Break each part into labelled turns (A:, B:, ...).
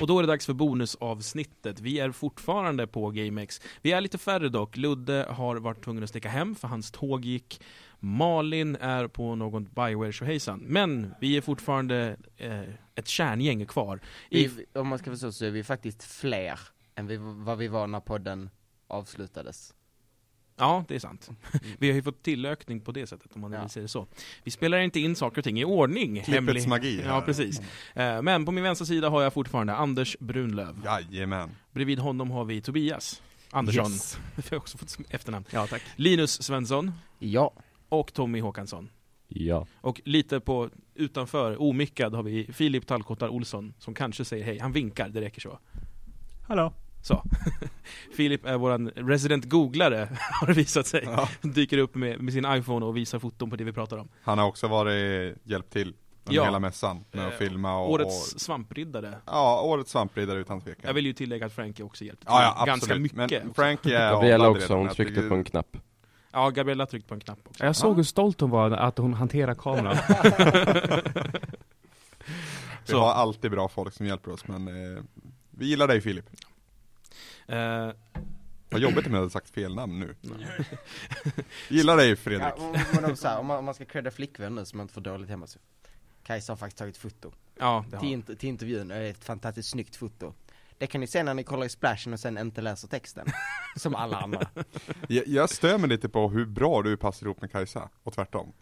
A: Och då är det dags för bonusavsnittet. Vi är fortfarande på GameX. Vi är lite färre dock. Ludde har varit tvungen att sticka hem för hans tåg gick. Malin är på någon Bioware tjohejsan. Men vi är fortfarande eh, ett kärngäng kvar. I,
B: Vi, om man ska vara så, så är vi faktiskt fler än vi, vad vi var när podden avslutades.
A: ja, det är sant. Vi har ju fått tillökning på det sättet om man
B: Ja.
A: vill säga det så. Vi spelar inte in saker och ting i ordning.
C: Klippets
A: hemlig-
C: magi här. Mm.
A: Ja, precis. Eh, men på min vänstra sida har jag fortfarande Anders Brunlöv.
C: Jajamän.
A: Bredvid honom har vi Tobias Andersson.
B: Yes.
A: Vi har också fått sm- efternamn.
D: Ja, tack.
A: Linus Svensson
B: Ja.
A: och Tommy Håkansson.
E: Ja.
A: Och lite på utanför, omyckad, har vi Filip Tallkottar Olsson som kanske säger hej. Han vinkar, det räcker så.
D: Hallå.
A: Så. Filip är våran resident googlare, har det visat sig.
C: Ja.
A: Dyker upp med, med sin iPhone och visar foton på det vi pratar om.
C: Han har också varit, hjälpt till under
A: Ja.
C: hela mässan med att
A: Eh,
C: filma och
A: Årets
C: och,
A: svampriddare.
C: Ja, årets svampridare utan tvekan
A: Jag vill ju tillägga att Frankie också hjälpte
C: ja, ja,
A: ganska
C: absolut.
A: mycket.
C: Men
A: också.
C: Frankie är
E: Gabriella
C: avlad
E: också,
C: redan.
E: hon
C: Jag
E: tryckte
C: tycker-
E: på en knapp.
A: Ja, Gabriella tryckte på en knapp också.
D: Jag såg hur stolt hon var att hon hanterade kameran.
C: Vi
A: Så.
C: har alltid bra folk som hjälper oss men eh, vi gillar dig Filip
A: Eh,
C: Vad jobbigt om jag hade sagt fel namn nu Gillar dig Fredrik
B: ja och- och- men om, så här, om, man, om man ska credda flickvän nu som man inte får dåligt hemma så. Kajsa har faktiskt tagit foto.
A: ja, det har
B: Till,
A: han.
B: int- till intervjun, och det är ett fantastiskt snyggt foto. Det kan ni se när ni kollar i splashen och sen inte läser texten. som alla andra.
C: jag, jag stör mig lite på hur bra du passar ihop med Kajsa, och tvärtom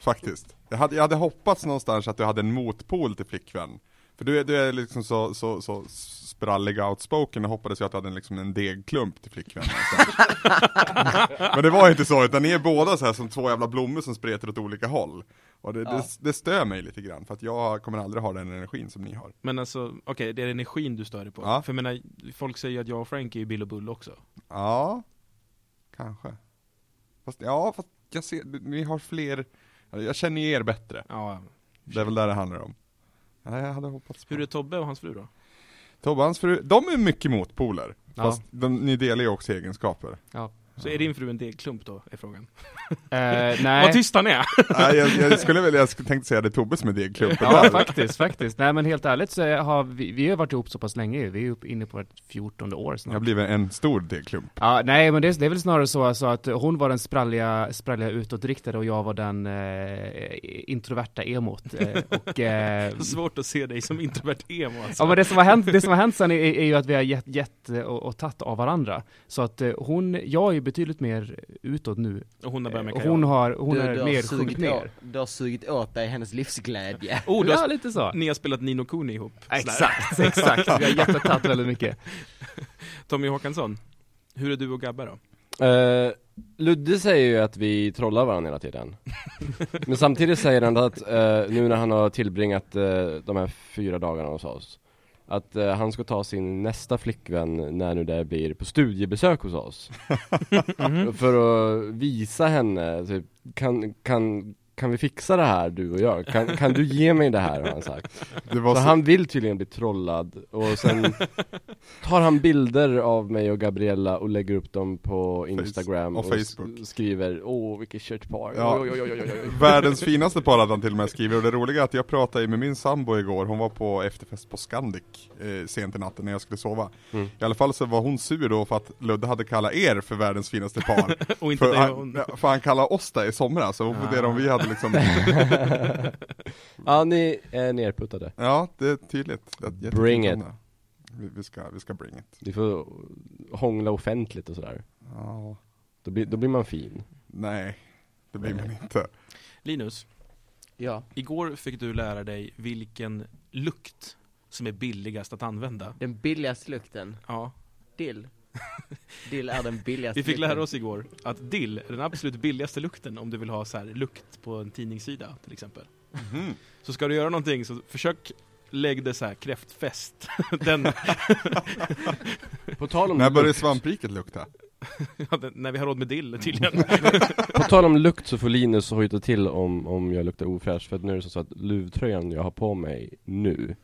C: Faktiskt jag hade, jag hade hoppats någonstans att du hade en motpol till flickvän För du är, du är liksom så, så, så sprallig och outspoken, jag hoppades ju att du hade en, liksom en degklump till flickvän någonstans. Men det var inte så, utan ni är båda så här som två jävla blommor som spretar åt olika håll Och det,
B: Ja.
C: det, det stör mig lite grann, för att jag kommer aldrig ha den energin som ni har
A: Men alltså, okej, det är energin du stör dig på.
C: Ja.
A: För jag menar, folk säger ju att jag och Frankie är ju Bill och Bull också.
C: Ja, kanske. Fast, ja, fast jag ser, ni har fler, jag känner ju er bättre.
A: Ja.
C: Det är väl där det handlar om. Ja, jag hade hoppats på.
A: Hur är Tobbe och hans fru då?
C: Tobbe och hans fru, de är mycket motpoler.
D: Ja.
C: Fast de, ni delar ju också egenskaper.
A: Så är din fru en degklump då, är frågan.
D: Eh,
A: Vad
D: nej.
A: tyst han är!
C: Nej, jag, jag skulle väl, jag skulle- tänkte säga det är Tobbe som är degklumpen
D: Ja,
C: där.
D: faktiskt, faktiskt. Nej men helt ärligt så har vi, vi har varit ihop så pass länge vi är upp inne på vårt fjortonde år
C: Jag
D: snart.
C: har blivit en stor degklump.
D: Ja, nej men det, är- det är väl snarare så alltså, att hon var den spralliga, spralliga utåtriktade och jag var den eh, introverta emot. Eh, och, eh,
A: Svårt att se dig som introvert emo alltså.
D: Ja men det som har hänt, det som har hänt sen är, är ju att vi har gett, gett och, och tagit av varandra. Så att eh, hon, jag är ju betydligt mer utåt nu.
A: Och hon har börjat med
D: Och
A: kajal.
D: hon har, hon
B: Du-
D: är
B: du har
D: mer
B: sugit
D: sjunkit ner.
B: åt- Du har sugit åt dig hennes livsglädje.
A: Oh, du har...
D: ja, lite så.
A: Ni har spelat Nino Kuni ihop. Sådär.
D: Exakt, exakt. Vi har gett och tagit väldigt mycket.
A: Tommy Håkansson, hur är du och Gabbe då?
E: Eh, Ludde säger ju att vi trollar varandra hela tiden. Men samtidigt säger han att eh, nu när han har tillbringat eh, de här fyra dagarna hos oss, att eh, han ska ta sin nästa flickvän när nu det blir på studiebesök hos oss. För att visa henne, typ, kan, kan, kan vi fixa det här du och jag? Kan, kan du ge mig det här har han sagt.
C: Det var
E: Så
C: så,
E: han vill tydligen bli trollad och sen tar han bilder av mig och Gabriella och lägger upp dem på Instagram
C: och
E: s-
C: Facebook.
E: skriver Åh vilket shirtpar,
C: Ja.
E: oj, oj, oj, oj, oj, oj.
C: Världens finaste par hade han till och med skrivit, och det roliga är att jag pratade ju med min sambo igår, hon var på efterfest på Scandic eh, sent i natten när jag skulle sova.
E: Mm.
C: I alla fall så var hon sur då för att Ludde hade kallat er för världens finaste par.
A: Och inte
C: för,
A: dig och hon.
C: han, för han kallade oss det i somras, så hon funderade om vi hade liksom,
E: Ja ni är nerputtade,
C: ja det är tydligt. Jag, jag tycker
E: Bring
C: inte om det. Vi, vi, ska, vi ska bring it.
E: ni får hångla offentligt och sådär
C: Ja,
E: Då blir, då blir man fin
C: nej, det blir man inte.
A: Linus,
B: Ja.
A: igår fick du lära dig vilken lukt som är billigast att använda.
B: Den billigaste lukten,
A: Ja.
B: dill. Dill är den billigaste
A: Vi fick
B: lukten.
A: lära oss igår att dill är den absolut billigaste lukten om du vill ha så här lukt på en tidningssida till exempel. Så ska du göra någonting så försök lägg det så här kräftfest. Den,
E: På tal om,
C: När började
E: lukt,
C: svampriket lukta?
A: ja, den, när vi har råd med dill tydligen.
E: på tal om lukt så får Linus hojta till om, om jag luktar ofräsch för att nu är det så att luvtröjan jag har på mig nu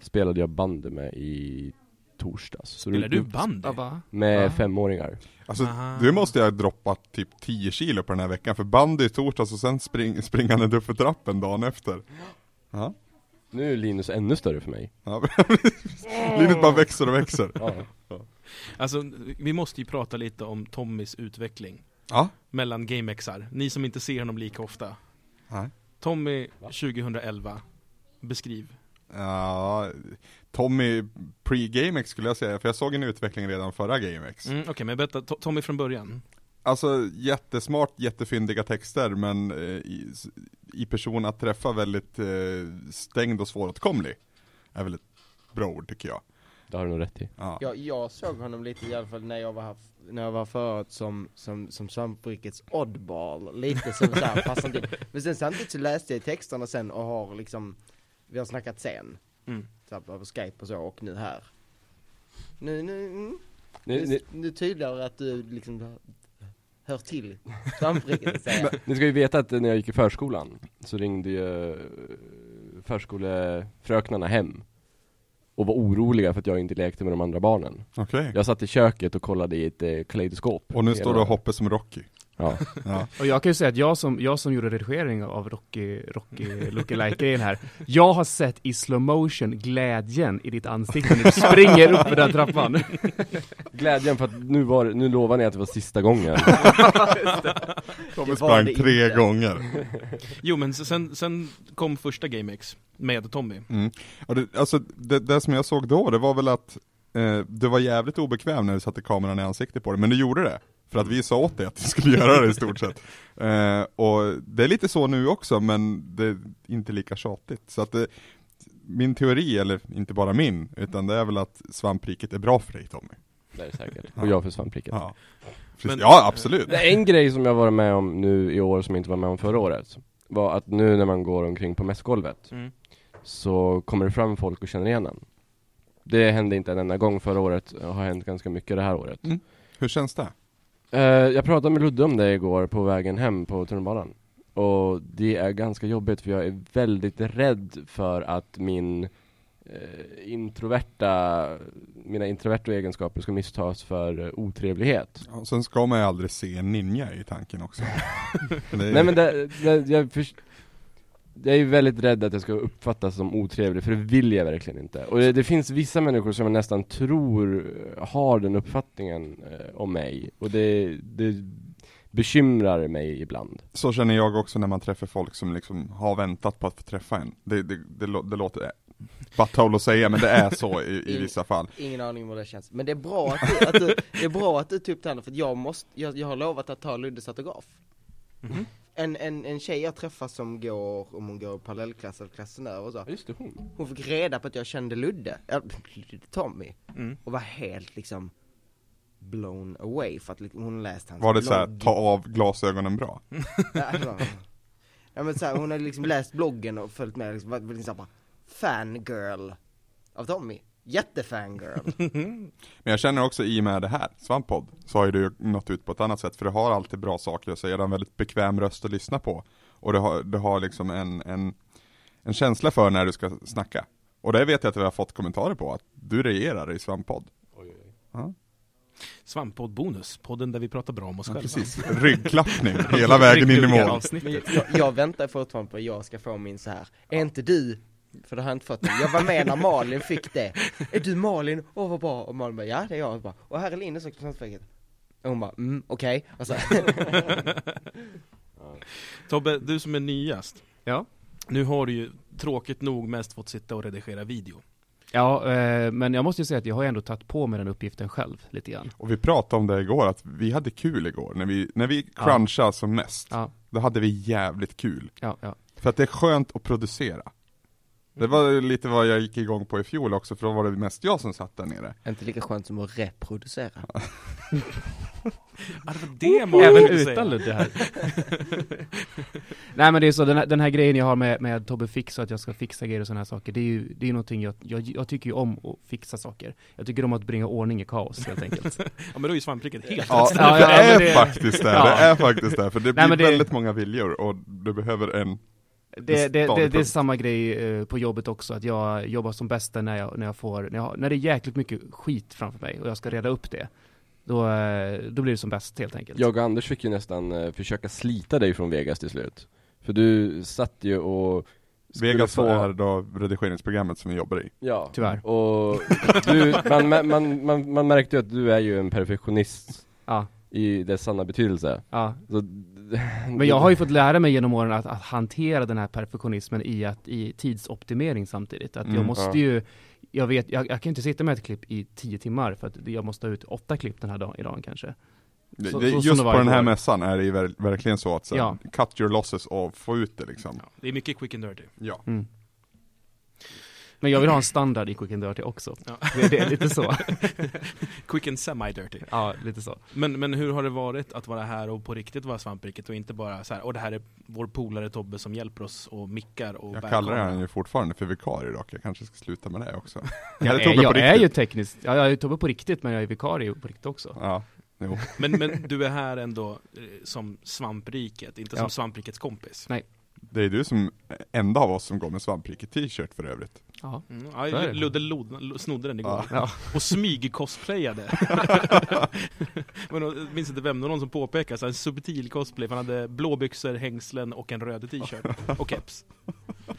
E: Spelade jag bandy med i torsdags Så
A: Spelar du bandy?
D: Ja, va?
E: Med
D: Ja.
E: femåringar
C: Alltså
A: Aha.
C: du måste jag droppa typ 10 kilo på den här veckan, för bandy i torsdags och sen spring, springande upp för trappen dagen efter. Ja.
E: Nu är Linus ännu större för mig.
C: Ja, Linus bara växer och växer.
E: Ja.
A: Alltså, vi måste ju prata lite om Tommys utveckling.
C: Ja.
A: Mellan GameXar, ni som inte ser honom lika ofta.
C: Nej.
A: Tommy 2011, beskriv.
C: Ja, Tommy pre-GameX skulle jag säga, för jag såg en utveckling redan förra GameX.
A: Mm, Okej, men berätta, To- Tommy från början.
C: Alltså jättesmart, jättefyndiga texter men eh, i, i person att träffa väldigt eh, stängd och svåråtkomlig. Är väl ett bra ord tycker jag.
E: Det har du nog rätt i.
C: Ja.
B: Jag, jag såg honom lite i alla fall när jag var här, när jag var förut som, som, som svamprikets oddball, lite som såhär passande in. Men sen samtidigt så läste jag texterna sen och har liksom, vi har snackat sen.
A: Mm.
B: Så här, över skype och så och nu här. Nu, nu, mm,
E: Ni,
B: nu,
E: ni,
B: nu tydligare att du liksom hör till svampriket säger jag.
E: ni ska ju veta att när jag gick i förskolan så ringde ju eh, förskolefröknarna hem och var oroliga för att jag inte lekte med de andra barnen.
C: Okej.
E: Jag satt i köket och kollade i ett eh, kaleidoskop.
C: Och nu
E: Hela-
C: står du och hoppar som Rocky.
E: Ja.
C: Ja.
D: Och jag kan ju säga att jag som, jag som gjorde redigering av Rocky, Rocky Lookalike-grejen här, jag har sett i slow motion glädjen i ditt ansikte när du springer upp för den trappan.
E: Glädjen för att nu var nu lovar ni att det var sista
C: Tommy
E: gången.
B: Det var
C: sprang
B: det
C: tre
B: inte.
C: gånger.
A: Jo men s- sen, sen kom första GameX med Tommy.
C: Mm. Och det, alltså det, det som jag såg då, det var väl att eh, du var jävligt obekväm när du satte kameran i ansiktet på dig, men du gjorde det. För att vi sa åt dig att du skulle göra det i stort sett. Eh, och det är lite så nu också, men det är inte lika tjatigt. Så att det, min teori, eller inte bara min, utan det är väl att svampriket är bra för dig Tommy.
E: Det är säkert. Och jag för svampriket.
C: Ja, Precis.
A: Men-
C: ja absolut.
E: Det är en grej som jag varit med om nu i år som jag inte var med om förra året Var att nu när man går omkring på mässgolvet
A: Mm.
E: Så kommer det fram folk och känner igen en Det hände inte en enda gång förra året, det har hänt ganska mycket det här året
C: Mm. Hur känns det?
E: Eh, Jag pratade med Ludde om det igår på vägen hem på tunnelbanan Och det är ganska jobbigt för jag är väldigt rädd för att min eh, introverta, mina introverta egenskaper ska misstas för eh, otrevlighet
C: Ja, sen ska man ju aldrig se en ninja i tanken också. Det är-
E: Nej men det, det, jag, förs- jag är ju väldigt rädd att jag ska uppfattas som otrevlig, för det vill jag verkligen inte. Och det, det finns vissa människor som jag nästan tror eh, har den uppfattningen eh, om mig, och det, det bekymrar mig ibland.
C: Så känner jag också när man träffar folk som liksom har väntat på att få träffa en. Det, det, det, lå- det låter battle att säga, men det är så i, i vissa fall.
B: Ingen aning om hur det känns, men det är bra att du, att du, det är bra att du tog upp det här nu, för att jag måste, jag, jag har lovat att ta Luddes autograf
C: Mm-hmm.
B: en, en, en tjej jag träffar som går, om hon går i parallellklass eller klassen över och så
E: Just det, hon.
B: Hon fick reda på att jag kände Ludde, äh, Ludde Tommy,
A: Mm.
B: och var helt liksom blown away för att liksom, hon läste hans
C: Var det så här,
B: blogg.
C: ta av glasögonen bra?
B: Nej, det var- Ja men så här, hon hade liksom läst bloggen och följt med liksom, var liksom så här, bara, fangirl av Tommy, jättefangirl
C: Men jag känner också i och med det här, Svamppodd, så har ju du nått ut på ett annat sätt, för det har alltid bra saker att säga, det har en väldigt bekväm röst att lyssna på. Och det har, det har liksom en, en, en känsla för när du ska snacka. Och det vet jag att vi har fått kommentarer på, att du regerar i Svamppodd.
A: Svamppodd-bonus, podden där vi pratar bra om oss själva.
C: Precis, ryggklappning hela vägen in i
A: Ryggdunkar
C: mål.
A: avsnitt.
B: Men jag, jag, jag väntar fortfarande på att jag ska få min så här. är inte du, för det har jag inte fått det. jag var med när Malin fick det, är du Malin? Åh vad bra, och Malin bara ja det är jag, och, bara, och här är Linus också från Svenskfacket. och hon bara mm, okej, och så
A: Tobbe, du som är nyast.
D: Ja.
A: Nu har du ju tråkigt nog mest fått sitta och redigera video.
D: Ja, eh, men jag måste ju säga att jag har ju ändå tagit på mig den uppgiften själv lite grann.
C: Och vi pratade om det igår, att vi hade kul igår, när vi, när vi
D: Ja.
C: crunchade som mest,
D: Ja,
C: då hade vi jävligt kul.
D: ja, ja.
C: För att det är skönt att producera. Det var ju lite vad jag gick igång på i fjol också, för då var det mest jag som satt där nere.
B: Inte lika skönt som att reproducera
A: Ja, det var det man
D: Även
A: ville säga.
D: utan Ludde här. Nej men det är så, den här, den här grejen jag har med, med Tobbe Fix och att jag ska fixa grejer och sådana här saker, det är ju det är ju någonting jag, jag, jag tycker ju om att fixa saker. Jag tycker om att bringa ordning i kaos helt enkelt.
A: Ja men då är ju svampriket helt
C: Ja,
D: Ja,
C: det
D: ja, men
C: är
D: det-
C: faktiskt det, det
D: Ja.
C: är faktiskt det, för det blir
D: men det-
C: väldigt många viljor och du behöver en
D: Det, det, det, det är
C: Stadigt.
D: samma grej eh, på jobbet också, att jag jobbar som bäst när jag, när jag får, när, jag, har- när det är jäkligt mycket skit framför mig och jag ska reda upp det. Då, eh, då blir det som bäst helt enkelt.
E: Jag och Anders fick ju nästan eh, försöka slita dig från Vegas till slut. För du satt ju och skulle
C: Vegas
E: få...
C: är då redigeringsprogrammet som vi jobbar i.
E: Ja.
D: Tyvärr.
E: Och du, man, man, man, man, man märkte ju att du är ju en perfektionist
D: Ja,
E: i dess sanna betydelse.
D: ja.
E: Så,
D: Men jag har
C: Mm.
D: ju fått lära mig genom åren att, att hantera den här perfektionismen i, att, i tidsoptimering samtidigt. Att jag
C: Mm,
D: måste
E: ja.
D: ju, jag vet, jag, jag kan ju inte sitta med ett klipp i tio timmar för att jag måste ha ut åtta klipp den här dagen, idag kanske.
C: Det,
D: Så-
C: det,
D: så som
C: just
D: det var
C: på den här
D: igår.
C: mässan är det ju ver- verkligen så att så, här,
D: Ja.
C: cut your losses och få ut det liksom.
A: Ja, det är mycket quick and dirty.
C: Ja.
D: Men jag vill ha en standard i Quick and Dirty också.
A: Ja.
D: Det, det är lite så.
A: Quick and semi-dirty.
D: Ja, lite så.
A: Men, men hur har det varit att vara här och på riktigt vara svampriket och inte bara så här, och det här är vår polare Tobbe som hjälper oss och mickar och
C: Jag
A: bär
C: kallar
A: kameran."
C: den ju fortfarande för vikarie dock, jag kanske ska sluta med det också.
D: Jag,
C: Eller Tobbe
D: är,
C: på
D: jag är
C: riktigt.
D: ju tekniskt, ja, jag är ju Tobbe på riktigt men jag är vikarie på riktigt också.
C: Ja, jo.
A: Men, men du är här ändå eh, som svampriket, inte
D: Ja.
A: som svamprikets kompis.
C: Det är du som, enda av oss som går med svampriket t-shirt för övrigt.
D: Ja.
A: Mm,
D: Så är
A: ja,
D: det.
A: Ludde lodna- lo- snodde den igår.
D: Ja.
A: Och smyg-cosplayade. men jag minns inte vem, det var någon som påpekade, så här, en subtil cosplay, för han hade blåbyxor, hängslen och en röd t-shirt. Och keps.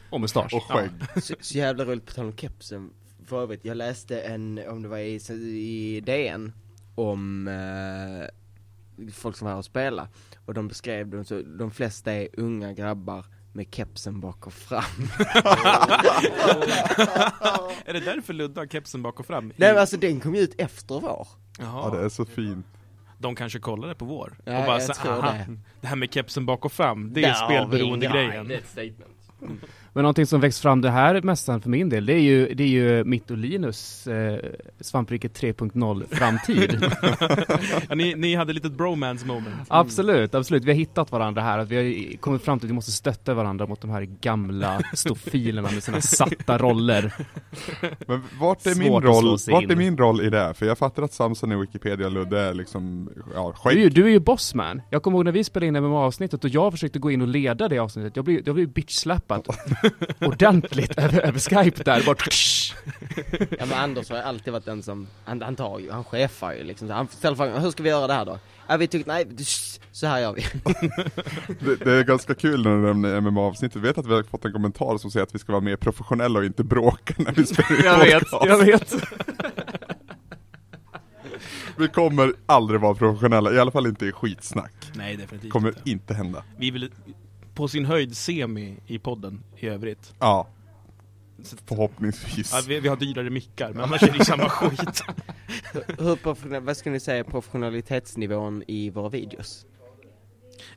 D: Och mustasch.
C: Och skägg.
B: Så, så jävla roligt på tal om kepsen, för övrigt, jag läste en, om det var i, i DN, om eh, folk som var här och spelade. Och de beskrev dem så, de flesta är unga grabbar med kepsen bak och fram.
A: Är det därför Ludde har kepsen bak och fram? I-
B: Nej men alltså den kom ju ut efter vår.
C: Ja,
A: Jaha.
C: det är så fint.
A: De kanske kollade på vår
B: Ja,
A: och bara
B: jag
A: så,
B: tror
A: aha, det.
B: det.
A: här med kepsen bak och fram, det är
B: Där har vi
A: spelberoende
B: en
A: grejen
B: guide.
D: Men någonting som växt fram det här mässan för min del, det är ju, det är ju mitt och Linus eh, Svampriket 3.0 framtid.
A: ja, ni, ni hade lite bromance moment
D: Absolut, absolut. Vi har hittat varandra här, att vi har ju kommit fram till att vi måste stötta varandra mot de här gamla stofilerna med sina satta roller.
C: Men vart är,
D: Svårt
C: min
D: att
C: roll,
D: slå sig
C: vart är
D: in.
C: min roll i det? här? För jag fattar att Samson i Wikipedia Ludde är liksom, ja,
D: Du är ju,
C: skägg.
D: du är ju bossman. Jag kommer ihåg när vi spelade in MMA-avsnittet och jag försökte gå in och leda det avsnittet, jag blev, jag blev bitchslappad ordentligt över, över Skype där. Bara,
B: Ja men Anders har ju alltid varit den som, han, han tar ju, han chefar ju liksom. Så Han ställer frågan, hur ska vi göra det här då? Ja vi tyckte, nej, sh- så här gör vi.
C: Det, det är ganska kul när du nämner MMA-avsnittet, vet att vi har fått en kommentar som säger att vi ska vara mer professionella och inte bråka när vi spelar in
D: jag vet,
C: podcast.
D: jag vet.
C: Vi kommer aldrig vara professionella, i alla fall inte i skitsnack.
A: Nej definitivt
C: Kommer
A: inte.
C: inte hända.
A: Vi vill på sin höjd semi i podden i övrigt
C: Ja,
A: Så att-
C: förhoppningsvis.
A: ja, vi, vi har dyrare mickar men annars är det ju samma skit
B: Hur professionell, vad skulle ni säga är professionalitetsnivån i våra videos?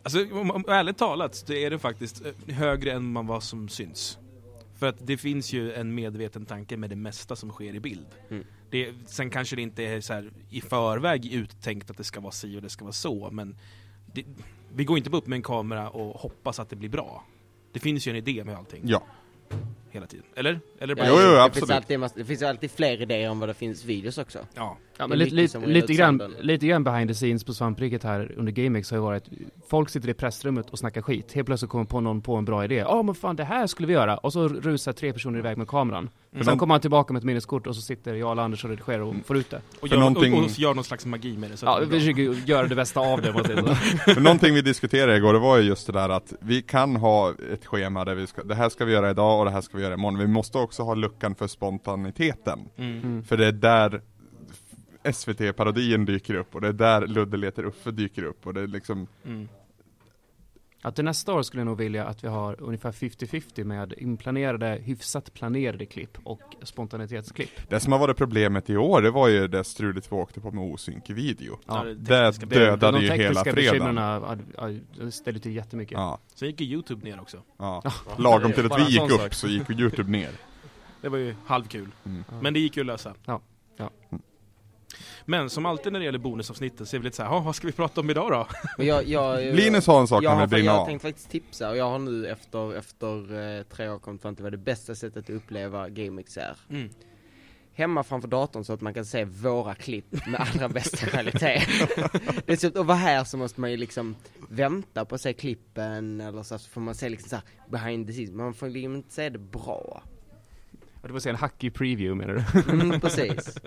A: Alltså om, om, ärligt talat så är det faktiskt eh, högre än man vad som syns. För att det finns ju en medveten tanke med det mesta som sker i bild.
B: Mm.
A: Det, sen kanske det inte är så här i förväg uttänkt att det ska vara si och det ska vara så men det, vi går inte bara upp med en kamera och hoppas att det blir bra. Det finns ju en idé med allting
C: Ja,
A: hela tiden. Eller? Eller
C: Jo, jo,
B: det
C: absolut.
B: Finns alltid, en massa- det finns ju alltid fler idéer om vad det finns videos också.
A: Ja.
D: Ja,
B: Det är
D: men lite,
B: mycket
D: lite,
B: som rinner
D: lite,
B: ut
D: grann,
B: sanden.
D: lite grann behind the scenes på svampriket här under GameX har ju varit Folk sitter i pressrummet och snackar skit, helt plötsligt kommer på någon på en bra idé Ja men fan det här skulle vi göra! Och så rusar tre personer iväg med kameran
B: Mm.
D: Sen
C: någon-
D: kommer han tillbaka med ett minneskort och så sitter jag och Anders och redigerar och får ut det
A: Och,
C: För
A: gör,
C: någonting-
A: och, och gör någon slags magi med det så att
D: Ja,
A: det
D: vi
A: blir bra.
D: försöker ju göra det bästa av det om man säger så.
C: Men någonting vi diskuterade igår, det var ju just det där att vi kan ha ett schema där vi ska, det här ska vi göra idag och det här ska vi göra imorgon. Vi måste också ha luckan för spontaniteten.
A: Mm.
C: För det är där SVT-parodin dyker upp och det är där Ludde letar Uffe dyker upp och det är liksom
A: Mm.
D: Ja, till nästa år skulle jag nog vilja att vi har ungefär 50-50 med inplanerade, hyfsat planerade klipp och spontanitetsklipp
C: Det som har varit problemet i år, det var ju det strulet vi åkte på med osynk video.
A: Ja,
D: Ja,
A: det
C: det
A: tekniska
C: dödar
A: biten.
C: Dödade
D: De
C: ju hela
D: tekniska
C: fredagen.
D: bekymren ja, ja, ställer till jättemycket
C: Ja,
A: Sen gick ju Youtube ner också.
C: ja. Lagom till att
D: Bara
C: vi
D: en
C: gick
D: sån
C: upp
D: sak.
C: så gick Youtube ner.
A: Det var ju halvkul.
C: Mm.
A: Men det gick ju att lösa.
D: Ja, ja.
A: Men som alltid när det gäller bonusavsnitten så är vi lite såhär, "Ja, vad ska vi prata om idag då?
B: Men jag, jag,
C: Linus har en sak
B: jag
C: han
B: har,
C: vill
B: fa-
C: brinna
B: jag har
C: av.
B: tänkt faktiskt tipsa och jag har nu efter, efter eh, tre år kommit fram till vad det bästa sättet att uppleva GameX är.
A: Mm.
B: Hemma framför datorn så att man kan se våra klipp med allra bästa kvalitet. Dessutom, och vara här så måste man ju liksom vänta på att se klippen eller så, så får man se liksom så här behind the scenes, man får liksom inte se det bra.
D: Ja, Det var en hackig preview menar du?
B: Mm, precis.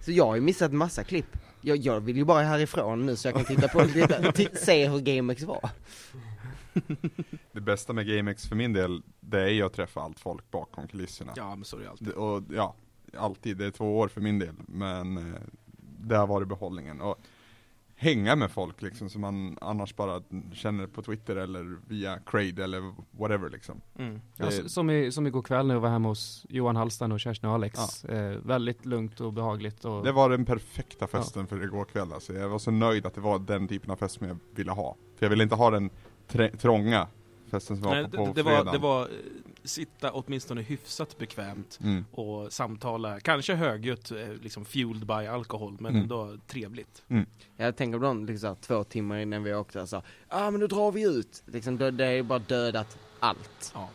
B: Så jag har ju missat massa klipp. Jag, jag vill ju bara härifrån nu så jag kan titta på, titta, ti- se hur GameX var.
C: Det bästa med GameX för min del, det är ju att träffa allt folk bakom kulisserna.
A: Ja, men så är det alltid.
C: Det- Och ja, alltid, det är två år för min del, men eh, det har varit behållningen. Och hänga med folk liksom, som man annars bara känner på Twitter eller via Crade eller whatever liksom.
A: Mm.
D: Ja,
C: Det-
D: s- Alltså, som, i, som igår kväll när jag var hemma hos Johan Hallstan och Kerstin och Alex. Eh, väldigt lugnt och behagligt och
C: Det var den perfekta festen för igår kväll alltså. Jag var så nöjd att det var den typen av fest som jag ville ha. För jag ville inte ha den trä- trånga festen som var
A: Nej,
C: på,
A: det,
C: på
A: det, var, det
C: fredagen.
A: var eh, sitta åtminstone hyfsat bekvämt
C: Mm.
A: och samtala, kanske högljutt, eh, liksom fueled by alkohol, men
C: Mm.
A: ändå trevligt.
B: Jag tänker ibland liksom såhär, två timmar innan vi åkte så ja ah, men nu drar vi ut. Liksom det, det är ju bara dödat allt.
A: Ja.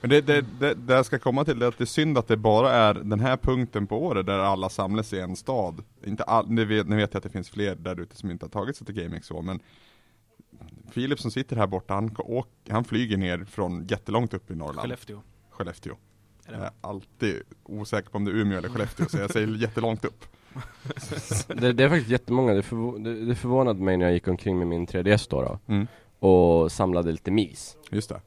C: Men det, det, det, det jag ska komma till är att det är synd att det bara är den här punkten på året där alla samlas i en stad. Inte all, nu, vet, nu vet jag att det finns fler där ute som inte har tagit sig till GameX så, men Filip som sitter här borta, han, åk, han flyger ner från jättelångt upp i Norrland,
A: Skellefteå.
C: Skellefteå.
A: Är
C: Jag
A: det.
C: är alltid osäker på om det är Umeå eller Skellefteå, så jag säger jättelångt upp.
E: Det, det är faktiskt jättemånga, det, förvo- det, det förvånade mig när jag gick omkring med min 3DS då, då
C: Mm.
E: och samlade lite mis.
C: Just det.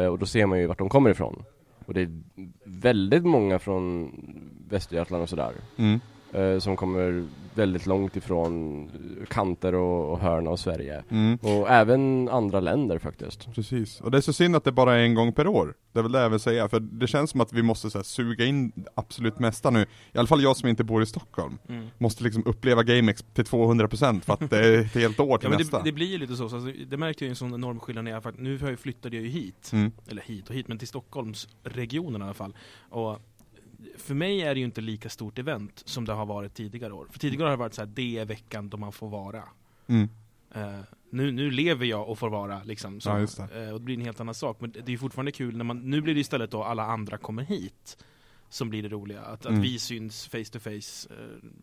E: Eh, och då ser man ju vart de kommer ifrån. Och det är väldigt många från Västergötland och sådär.
C: Mm.
E: Eh, som kommer väldigt långt ifrån eh, kanter och, och hörn av Sverige.
C: Mm.
E: Och även andra länder faktiskt.
C: Precis, och det är så synd att det bara är en gång per år. Det är väl det jag vill säga, för det känns som att vi måste så här, suga in det absolut mesta nu. I alla fall jag som inte bor i Stockholm,
A: Mm.
C: måste liksom uppleva GameX till 200% för att det är ett helt år till
A: Ja, men
C: nästa.
A: det, det blir ju lite så, så alltså, det märkte jag ju en sån enorm skillnad när jag faktiskt, nu har jag flyttade jag ju hit,
C: Mm.
A: eller hit och hit, men till Stockholmsregionen i alla fall. Och för mig är det ju inte lika stort event som det har varit tidigare år. För tidigare år har det varit så här, det är veckan då man får vara.
C: Mm.
A: Eh, nu, nu lever jag och får vara liksom. Så,
C: Ja, just det.
A: Eh, och det blir en helt annan sak. Men det det är ju fortfarande kul när man, nu blir det istället då alla andra kommer hit. Som blir det roliga, att,
C: Mm.
A: att vi syns face to face. Eh,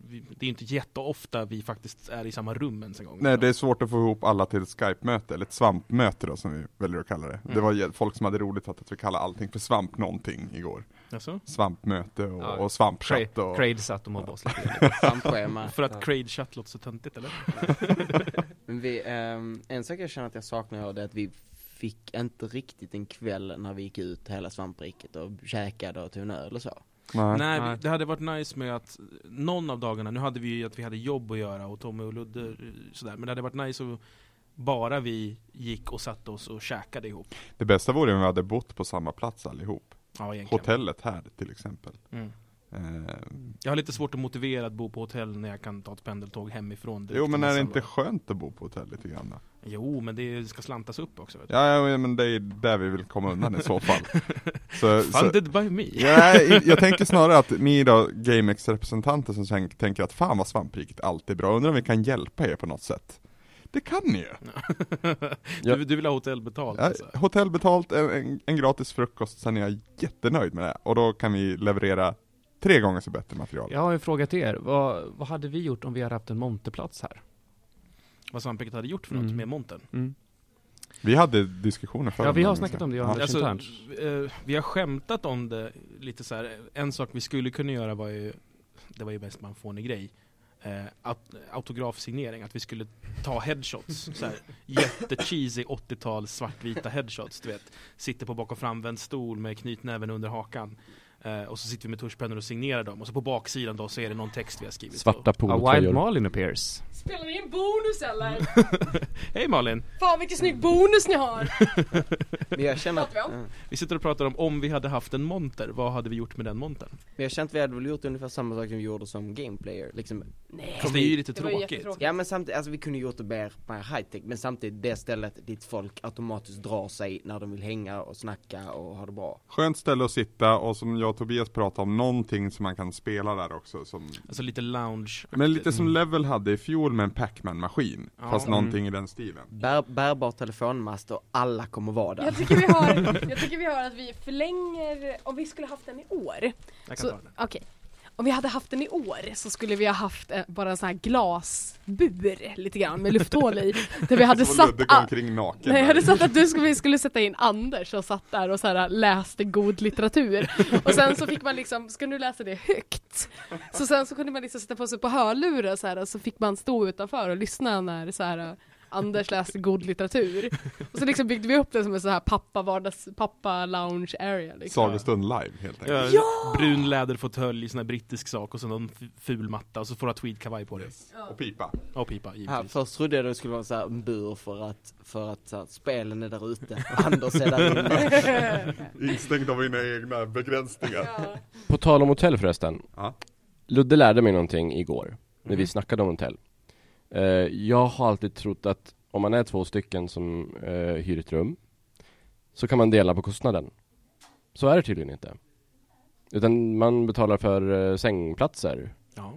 A: vi, det är ju inte jätteofta vi faktiskt är i samma rum ens en gång.
C: Nej, det är svårt att få ihop alla till ett Skype-möte, eller ett svampmöte då som vi väljer att kalla det.
A: Mm.
C: Det var ju folk som hade roligt att, att vi kallade allting för svamp någonting igår.
A: Alltså?
C: Svampmöte och,
D: Ja.
C: och
D: Cra-
C: svampchatt och...
D: Crade satt och mobbade oss lite.
B: Samschema.
A: För att Crade Chat låter så töntigt eller?
B: Men vi, ehm, en sak jag känner att jag saknar här, det är att vi fick inte riktigt en kväll när vi gick ut hela svampriket och käkade och tog en öl och så.
C: Nej.
A: Nej,
D: Nej.
A: vi, det hade varit nice med att någon av dagarna, nu hade vi ju att vi hade jobb att göra och Tommy och Ludde eh,
C: Mm.
A: sådär, men det hade varit nice att bara vi gick och satte oss och käkade ihop.
C: Det bästa vore om vi hade bott på samma plats allihop.
A: Ja, egentligen.
C: Hotellet här till exempel.
A: Mm.
C: Eh,
A: Jag har lite svårt att motivera att bo på hotell när jag kan ta ett pendeltåg hemifrån. direkt
C: Jo men
A: till
C: är det
A: nästan
C: inte
A: bara.
C: skönt att bo på hotell lite grann då?
A: Jo, men det ska slantas upp också. Vet du.
C: Ja, ja men det är där vi vill komma undan i så fall. Så, så,
A: Funded by me.
C: ja, jag tänker snarare att ni då, GameX-representanter som sen tänker att fan vad svampriket alltid är bra, undrar om vi kan hjälpa er på något sätt? Det kan ni ju!
E: Ja.
A: du, du vill ha hotell betalt
C: Ja,
A: alltså.
C: hotell betalt, en, en, en gratis frukost, sen är jag jättenöjd med det. Och då kan vi leverera tre gånger så bättre material.
D: Jag har en fråga till er. Vad, vad hade vi gjort om vi hade haft en monterplats här?
A: Vad Svampriket hade gjort för något
D: Mm.
A: med montern.
C: Vi hade diskussioner förra
D: Ja, vi har
C: gången,
D: snackat
C: så.
D: om det,
C: Ja.
D: Johan.
A: Alltså,
D: internt.
A: eh, vi har skämtat om det lite så här. En sak vi skulle kunna göra var ju, det var ju mest bara en fånig grej, eh, aut- autografsignering, att vi skulle ta headshots. så här, jättecheesy 80-tal svartvita headshots, du vet. Sitter på bak och framvänd stol med knytnäven under hakan. Eh, och så sitter vi med tuschpennor och signerar dem, och så på baksidan då så är det någon text vi har skrivit.
E: Svarta
D: A Wild
E: polotröjor.
D: Malin appears.
F: Spelar ni in bonus eller?
A: Hej Malin!
F: Fan vilken snygg bonus ni har!
B: Men jag känner att,
F: Pratar vi
B: ja.
A: Vi sitter och pratar om om vi hade haft en monter, vad hade vi gjort med den montern?
B: Men jag känner att vi hade väl gjort ungefär samma sak som vi gjorde som gameplayer, liksom
A: Fast det är ju lite
F: Det var ju
A: tråkigt.
F: jättetråkigt.
B: Ja men samtidigt, alltså vi kunde gjort det mer, mer high-tech men samtidigt det stället dit folk automatiskt drar sig när de vill hänga och snacka och ha det bra.
C: Skönt ställe att sitta och som jag och Tobias pratade om, någonting som man kan spela där också som
A: Alltså lite lounge
C: Men lite som Level hade i fjol med en Pac-Man-maskin,
A: Ja.
C: fast
A: Mm.
C: någonting i den stilen.
B: Bär, bärbar telefonmast och alla kommer vara där.
F: Jag tycker, vi har, jag tycker vi har att vi förlänger, om vi skulle haft den i år.
A: Jag kan
F: Så,
A: ta den.
F: Okej. Om vi hade haft den i år så skulle vi ha haft eh, bara en sån här glasbur lite grann med lufthål i. Där vi hade
C: Så
F: satt...
C: Ludde
F: a-
C: går omkring naken.
F: Nej, jag
C: där.
F: hade satt att du skulle, vi skulle sätta in Anders och satt där och så här läste god litteratur. Och sen så fick man liksom, ska du läsa det högt? Så sen så kunde man liksom sätta på sig på hörlurar så här och så fick man stå utanför och lyssna när så här Anders läste god litteratur. Och så liksom byggde vi upp det som en sån här pappa vardags, pappa lounge area liksom.
C: Sagostund live helt enkelt.
A: Ja! en Brun läderfåtölj, sån här brittisk sak och så någon f- ful matta och så får du ha tweedkavaj på dig.
C: Och pipa.
A: Och pipa
B: Här,
A: givetvis.
B: först trodde jag det skulle vara så här en bur för att, för att så här, spelen är där ute, Anders är där inne.
C: Instängd av mina egna begränsningar.
F: Ja.
E: På tal om hotell förresten.
C: Ja.
E: Ludde lärde mig någonting igår, när vi snackade om hotell. Eh, jag har alltid trott att om man är två stycken som eh, hyr ett rum, så kan man dela på kostnaden. Så är det tydligen inte. Utan man betalar för eh, sängplatser.
A: Ja.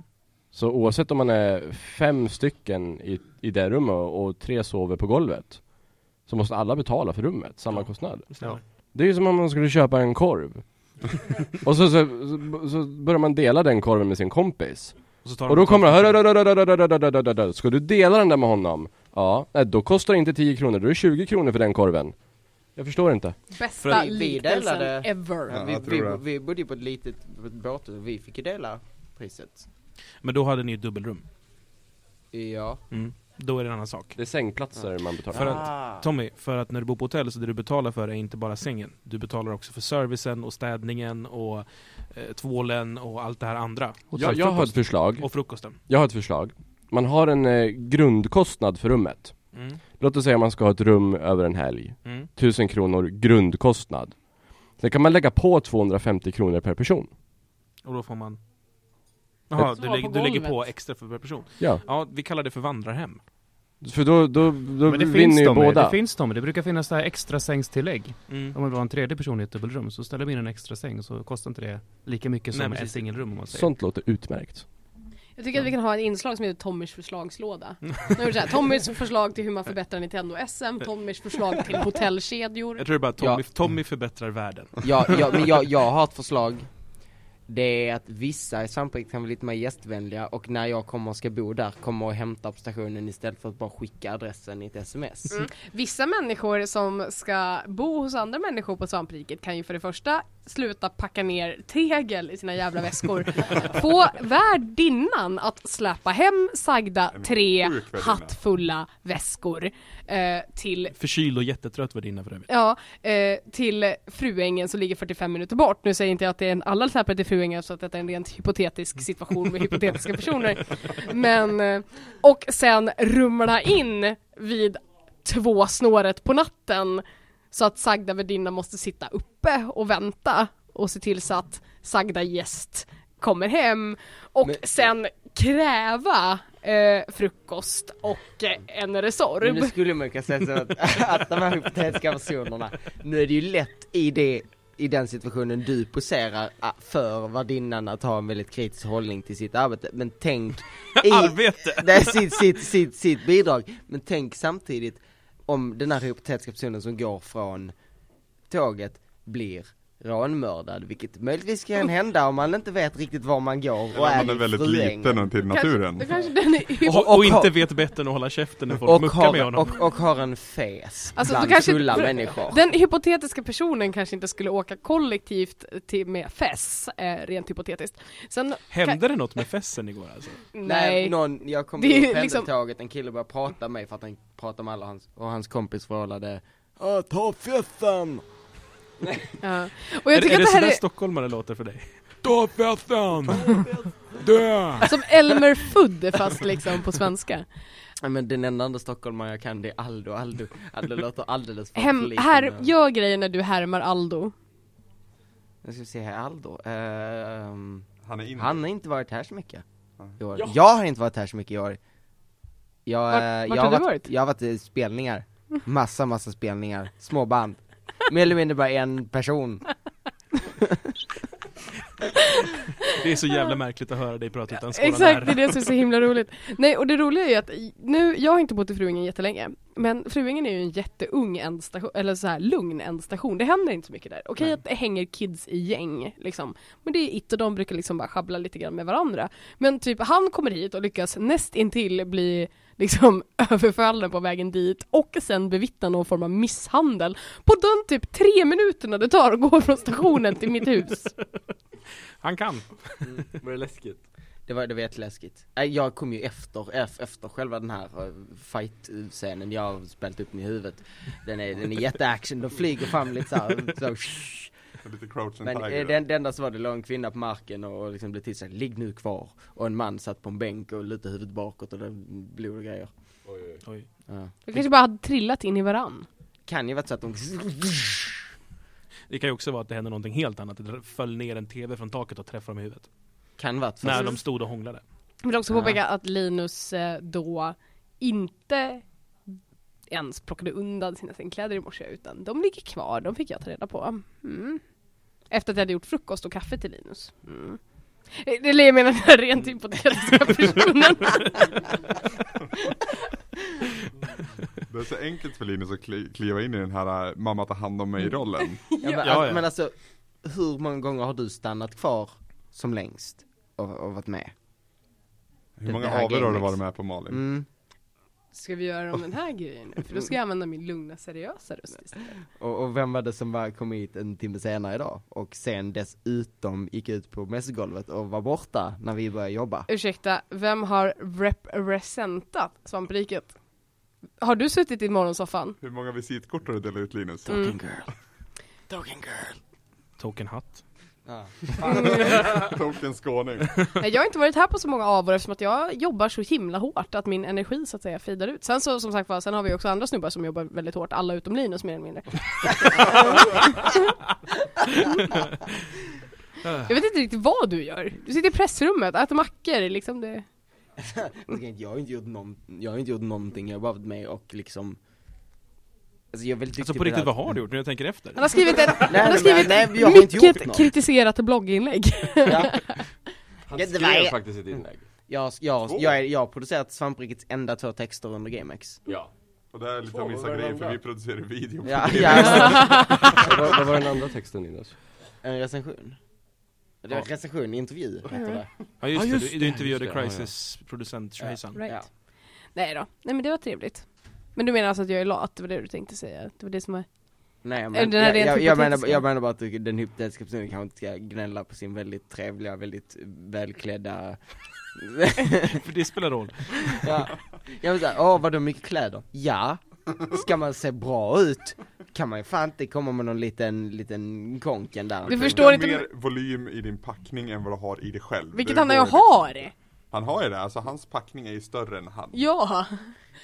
E: Så oavsett om man är fem stycken i, i det rummet och, och tre sover på golvet, så måste alla betala för rummet, samma
A: Ja.
E: kostnad.
A: det stämmer.
E: Det är ju som om man skulle köpa en korv Och så, så, så, så börjar man dela den korven med sin kompis
A: Och, så tar
E: Och
A: de-
E: då kommer han "Hörru, hörru, hörru, hörru, hörru, hörru, hörru, hörru. Ska du dela den där med honom? Ja, nej då kostar det inte 10 kronor, då är det 20 kronor för den korven Jag förstår inte
A: För
F: Bästa
A: att-
B: Vi- vi
F: liknelsen
B: delade-
F: ever.
C: Ja,
B: vi,
C: jag tror
B: vi,
C: det.
B: vi bodde ju på ett litet på ett båthus, vi fick ju dela priset.
A: Men då hade ni ju ett dubbelrum.
B: Ja.
A: Mm. Då är det en annan sak.
E: Det är sängplatser man betalar
A: För
E: för.
A: att-
B: Ah.
A: Tommy, för att när du bor på hotell så det du betalar för är inte bara sängen. Du betalar också för servicen och städningen och eh, tvålen och allt det här andra.
E: Jag, jag har ett förslag,
A: Och frukosten.
E: jag har ett förslag Man har en eh, grundkostnad för rummet
A: Mm.
E: Låt oss säga man ska ha ett rum över en helg
A: Mm.
E: 1000 kronor grundkostnad Sen kan man lägga på 250 kronor per person
A: Och då får man... Jaha,
F: Som
A: du,
F: var
A: lägg,
F: på
A: du lägger
F: golvet.
A: på extra för per person.
E: Ja
A: Ja, vi kallar det för vandrarhem.
E: För då, då, då
D: Men det finns
E: vinner ju
D: de,
E: båda.
D: det finns de. Det brukar finnas det här extra sängstillägg.
A: Mm.
D: Om man vill ha en tredje person i ett dubbelrum så ställer man in en extra säng så kostar inte det lika mycket
A: Nej,
D: som ett
A: precis.
D: singelrum om man säger.
E: Sånt låter utmärkt.
F: Jag tycker att vi kan ha ett inslag som heter Tommys förslagslåda. Nu är det så här, Tommys förslag till hur man förbättrar Nintendo SM, Tommys förslag till hotellkedjor.
A: Jag tror det är bara Tommy,
B: Ja.
A: Tommy förbättrar världen.
B: Ja, ja, men jag, jag har ett förslag. Det är att vissa i Svampriket kan vara lite mer gästvänliga och när jag kommer och ska bo där kommer och hämta på stationen istället för att bara skicka adressen i ett sms.
F: Vissa människor som ska bo hos andra människor på svampriket kan ju för det första sluta packa ner tegel i sina jävla väskor. Få värdinnan att släpa hem sagda tre
C: sjuk värdinna.
F: hattfulla väskor eh, till
A: Förkyld och jättetrött värdinna för övrigt.
F: Ja, eh, till Fruängen som ligger 45 minuter bort. Nu säger inte jag att det är en alla släpare till Fruängen så att detta är en rent hypotetisk situation med hypotetiska personer. Men, eh, och sen rumla in vid två snåret på natten så att sagda värdinna måste sitta uppe och vänta och se till så att sagda gäst kommer hem och
B: Men-
F: sen kräva eh, frukost och eh, en
B: Men
F: Resorb.
B: nu skulle man ju kunna säga så att, att de här hypotetiska personerna, nu är det ju lätt i det i den situationen du poserar ah, för värdinnan att ha en väldigt kritisk hållning till sitt arbete, men tänk i,
A: Arbete!
B: Det är sitt, sitt, sitt, sitt bidrag. Men tänk samtidigt om den här hypotetiska personen som går från tåget blir rånmördad, vilket möjligtvis kan hända om man inte vet riktigt var man går och
C: Eller
B: är
C: om man är
B: i
C: väldigt
B: Fruängen.
C: liten och till naturen.
F: Kanske, kanske den är
A: Och, och,
B: och
A: inte
B: har-
A: vet bättre än att hålla käften när folk
B: och
A: muckar med
B: har,
A: honom.
B: och, och har en fes
F: Alltså,
B: bland
F: då kanske-
B: fulla människor.
F: Den hypotetiska personen kanske inte skulle åka kollektivt till med fess, eh, rent hypotetiskt. Sen,
A: Hände det något med fessen igår alltså?
F: nej.
B: någon, jag kom
F: Det är
B: in
F: ju
B: på
F: liksom-
B: pendeltåget, en kille började prata med mig för att han pratade med alla hans, och hans kompis förhållade "Ah, Ta fessen!
F: Ja. Och jag
A: är, det-
F: tycker
A: är det
F: att det här
A: sådär
F: är
A: stockholmare låter för dig? Ta festen! Dö!
F: som Elmer Fudd fast liksom på svenska.
B: Nej men den enda andra stockholmare jag kan det är Aldo, Aldo, Aldo låter alldeles för
F: Hem,
B: förliten.
F: här, gör grejer när du härmar Aldo.
B: Nu ska vi se här, Aldo, Ehm,
C: Han är inne.
B: han har inte varit här så mycket i år. Jag har inte varit här så mycket i år jag,
F: Vart-
B: eh,
F: vart
B: jag
F: har du
B: varit-
F: varit?
B: Jag har varit i spelningar, massa massa spelningar, små band Mer eller mindre bara en person
A: Det är så jävla märkligt att höra dig prata utan skålar
F: Exakt, det
A: där.
F: är det som är så himla roligt. Nej, och det roliga är ju att nu, jag har inte bott i Fruängen jättelänge, men Fruängen är ju en jätteung ändstation, eller så här lugn ändstation. Det händer inte så mycket där. Okej att det hänger kids i gäng, liksom. Men det är it och de brukar liksom bara schabbla lite grann med varandra. Men typ han kommer hit och lyckas nästintill bli liksom överfallen på vägen dit och sen bevittna någon form av misshandel på de typ tre minuterna det tar att gå från stationen till mitt hus.
A: Han kan.
E: Var det läskigt?
B: Det var, det var jätteläskigt. Äh, Jag kom ju efter, eff- efter själva den här eh, fight-scenen jag har spelat upp den i huvudet. Den är, den är jätteaction, de flyger fram lite såhär, så, shh.
C: Lite crouch and
B: Men eh,
C: tiger.
B: det, det enda som var det låg en kvinna på marken och och liksom blev tillsagd, ligg nu kvar. Och en man satt på en bänk och lutade huvudet bakåt och det blod och grejer.
A: Oj.
B: Ja.
F: De kanske bara hade trillat in i varann.
B: Kan ju varit så att de
A: Det kan ju också vara att det hände någonting helt annat. Det föll ner en TV från taket och träffade dem i huvudet.
B: kan varit så.
A: När de stod och hånglade.
F: Jag vill också
B: Ja.
F: påpeka att Linus eh, då inte ens plockade undan sina sängkläder i morse utan de ligger kvar, de fick jag ta reda på. Mm. Efter att jag hade gjort frukost och kaffe till Linus. Mm. Eh, Eller jag menar den här rent hypotetiska personen.
C: Det är så enkelt för Linus att kli- kliva in i den här eh, mamma ta hand om mig-rollen.
B: Ja, men,
A: Ja, ja.
B: men alltså, hur många gånger har du stannat kvar som längst och, och varit med?
C: Hur
B: Det- det
C: många
B: här
C: AWr har du
B: gamet.
C: varit med på Malin?
B: Mm.
F: Ska vi göra om den här grejen nu? För då ska jag använda min lugna seriösa röst istället.
B: Och, och vem var det som bara kom hit en timme senare idag? Och sen dessutom gick ut på mässgolvet och var borta när vi började jobba.
F: Ursäkta, vem har representat svampriket? Har du suttit i morgonsoffan?
C: Hur många visitkort har du delat ut Linus?
F: Mm.
A: Token hatt.
B: Ja.
C: Token skåning.
F: Nej, Jag har inte varit här på så många avår eftersom att jag jobbar så himla hårt att min energi så att säga fejdar ut. Sen så som sagt var, sen har vi också andra snubbar som jobbar väldigt hårt, alla utom Linus mer eller mindre. jag vet inte riktigt vad du gör. Du sitter i pressrummet, äter mackor liksom det.
B: Jag har inte gjort, någon, jag har inte gjort någonting, jag har bara varit med och liksom Alltså jag är väldigt
A: Alltså
B: duktig
A: på riktigt,
B: det
A: vad
B: här.
A: har du gjort nu? Jag tänker efter.
F: Han har skrivit en, han har
B: men-
F: skrivit
B: nej, jag har inte gjort
F: mycket
B: något.
F: kritiserat blogginlägg.
B: Ja,
E: Han
B: Ja, det
E: skrev
B: var jag.
E: faktiskt ett inlägg.
B: jag, jag,
C: Två.
B: jag, är- jag har producerat svamprikets enda två texter under GameX
E: Ja.
C: Och det här är lite
E: Två,
C: av
E: vad
C: vissa
E: var det
C: grejer för
E: andra?
C: vi producerar video.
B: Ja, ja alltså,
E: Vad var, vad var den andra texten Linus?
B: en recension Det var
A: Ja.
B: recension, intervju heter det
A: Ja just,
E: Ja,
A: det,
E: just
A: du,
E: det,
A: du intervjuade
E: just det, ja, ja.
A: Crisis-producent Shahizan.
F: Right.
B: Ja.
F: Nej då, nej men det var trevligt. Men du menar alltså att jag är lat, det var det du tänkte säga? Det var det som var...
B: Nej
F: Är
B: men,
F: den här
B: jag,
F: rent
B: jag, jag, menar,
F: hypotetiska?
B: jag menar bara att du- den hypotetiska personen kanske inte ska gnälla på sin väldigt trevliga, väldigt välklädda
A: För det spelar roll.
B: ja. Jag vill säga, åh vad du har mycket kläder, ja Ska man se bra ut kan man ju fan inte komma med någon liten, liten konken där
F: Du
C: Du
F: förstår
C: har
F: inte-
C: mer volym i din packning än vad du har i dig själv.
F: Vilket
C: Det
F: han
C: går
F: jag
C: liksom.
F: har!
C: Han har ju det, alltså hans packning är ju större än han.
F: Ja!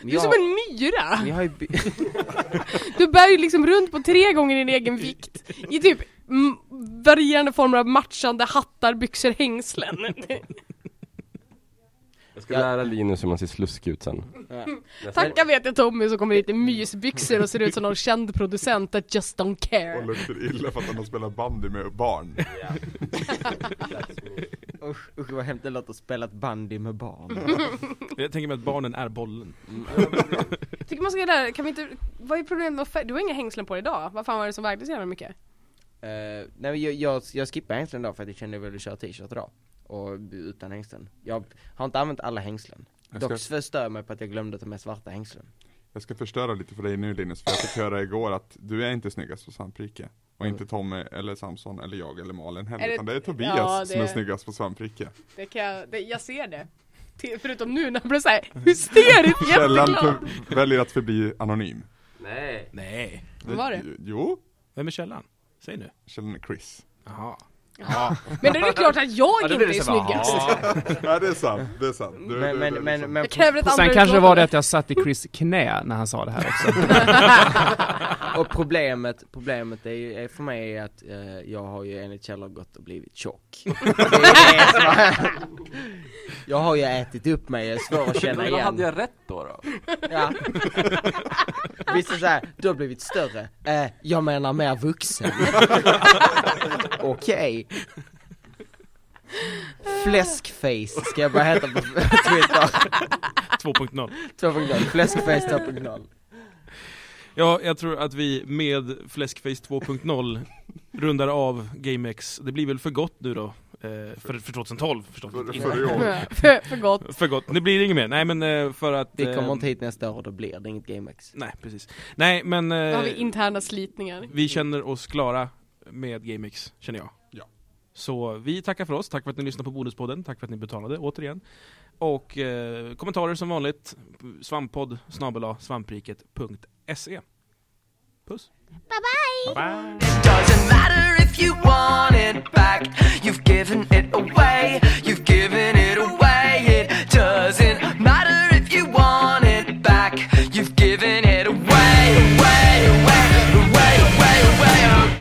F: Du är
B: Jag-
F: som en myra!
B: jag har ju by-
F: Du bär ju liksom runt på tre gånger din egen vikt i typ mm, varierande former av matchande hattar, byxor, hängslen.
E: Jag ska
B: Ja.
E: lära Linus hur man ser sluskig ut sen. Nästa
F: Tacka vet jag Tommy som kommer hit i mysbyxor och ser ut som någon känd producent that just don't
C: Och
F: care.
C: luktar illa för att han har spelat bandy med barn.
B: Usch, usch vad hemskt det låter att spela ett bandy med barn.
A: Jag tänker mig att barnen är bollen.
F: Tycker man ska lära, kan vi inte, vad är problemet med färg? Du har inga hängslen på dig idag, vad fan var det som vägde så jävla mycket?
B: Eh, nej men jag, jag, jag skippade hängslen idag för att jag kände att jag ville köra t-shirt idag. Och utan hängslen. Jag har inte använt alla hängslen.
C: Jag
B: Dock
C: ska-
B: förstör jag mig på att jag glömde ta med svarta hängslen.
C: Jag ska förstöra lite för dig nu Linus, för jag fick höra igår att du är inte snyggast på Svamprike. Och inte Tommy, eller Samson, eller jag, eller Malin heller,
F: Är det-
C: utan det är Tobias
F: Ja, det-
C: som är snyggast på Svamprike.
F: Det kan jag, det, jag ser det. Till- Förutom nu när han blev såhär hysteriskt
C: Källan
F: jätteglad.
C: för, väljer att förbli anonym.
E: Nej.
A: Nej.
F: Vad var det?
C: Jo,
A: Vem är källan? Säg nu.
C: Källan är Chris.
A: Jaha.
F: Men då är det klart att jag
D: Ja, då
F: inte
D: blir liksom,
F: är
D: det så bara,
F: snyggast.
C: Ja det är sant, det är sant. Du, du,
B: Men, men,
C: du,
B: men, men,
F: Jag kräver ett andra
D: Sen kanske det var det
F: utlåtande.
D: att jag satt i Chris knä när han sa det här också.
B: och problemet, problemet är ju, är för mig är att eh, jag har ju enligt källor gått och blivit tjock. Det är det som har- jag har ju ätit upp mig, jag är svår att känna
E: Men då
B: igen.
E: hade jag rätt då då?
B: Ja. Vissa såhär, du har blivit större, eh, jag menar mer vuxen. Okej. Fläskface ska jag bara heta på Twitter.
A: 2.0.
B: 2.0, fläskface 2.0.
A: Ja, jag tror att vi med Fläskface 2.0 rundar av GameX. Det blir väl för gott nu då. Eh, för, för 2012 förstås.
C: För,
A: Inte-
C: för i år.
F: för, för gott.
A: För gott. Det blir inget mer. Nej men eh, för att...
B: Vi kommer
A: eh,
B: inte hit nästa år och då blir det inget GameX.
A: Nej, precis. Nej men... eh,
F: Då har vi interna slitningar.
A: vi känner oss klara med GameX, känner jag.
C: Ja.
A: Så vi tackar för oss, tack för att ni lyssnade på Bonuspodden, tack för att ni betalade återigen. Och eh, kommentarer som vanligt, svamppodd snabel-a svampriket.se. E. Puss!
G: Doesn't matter if you want it back.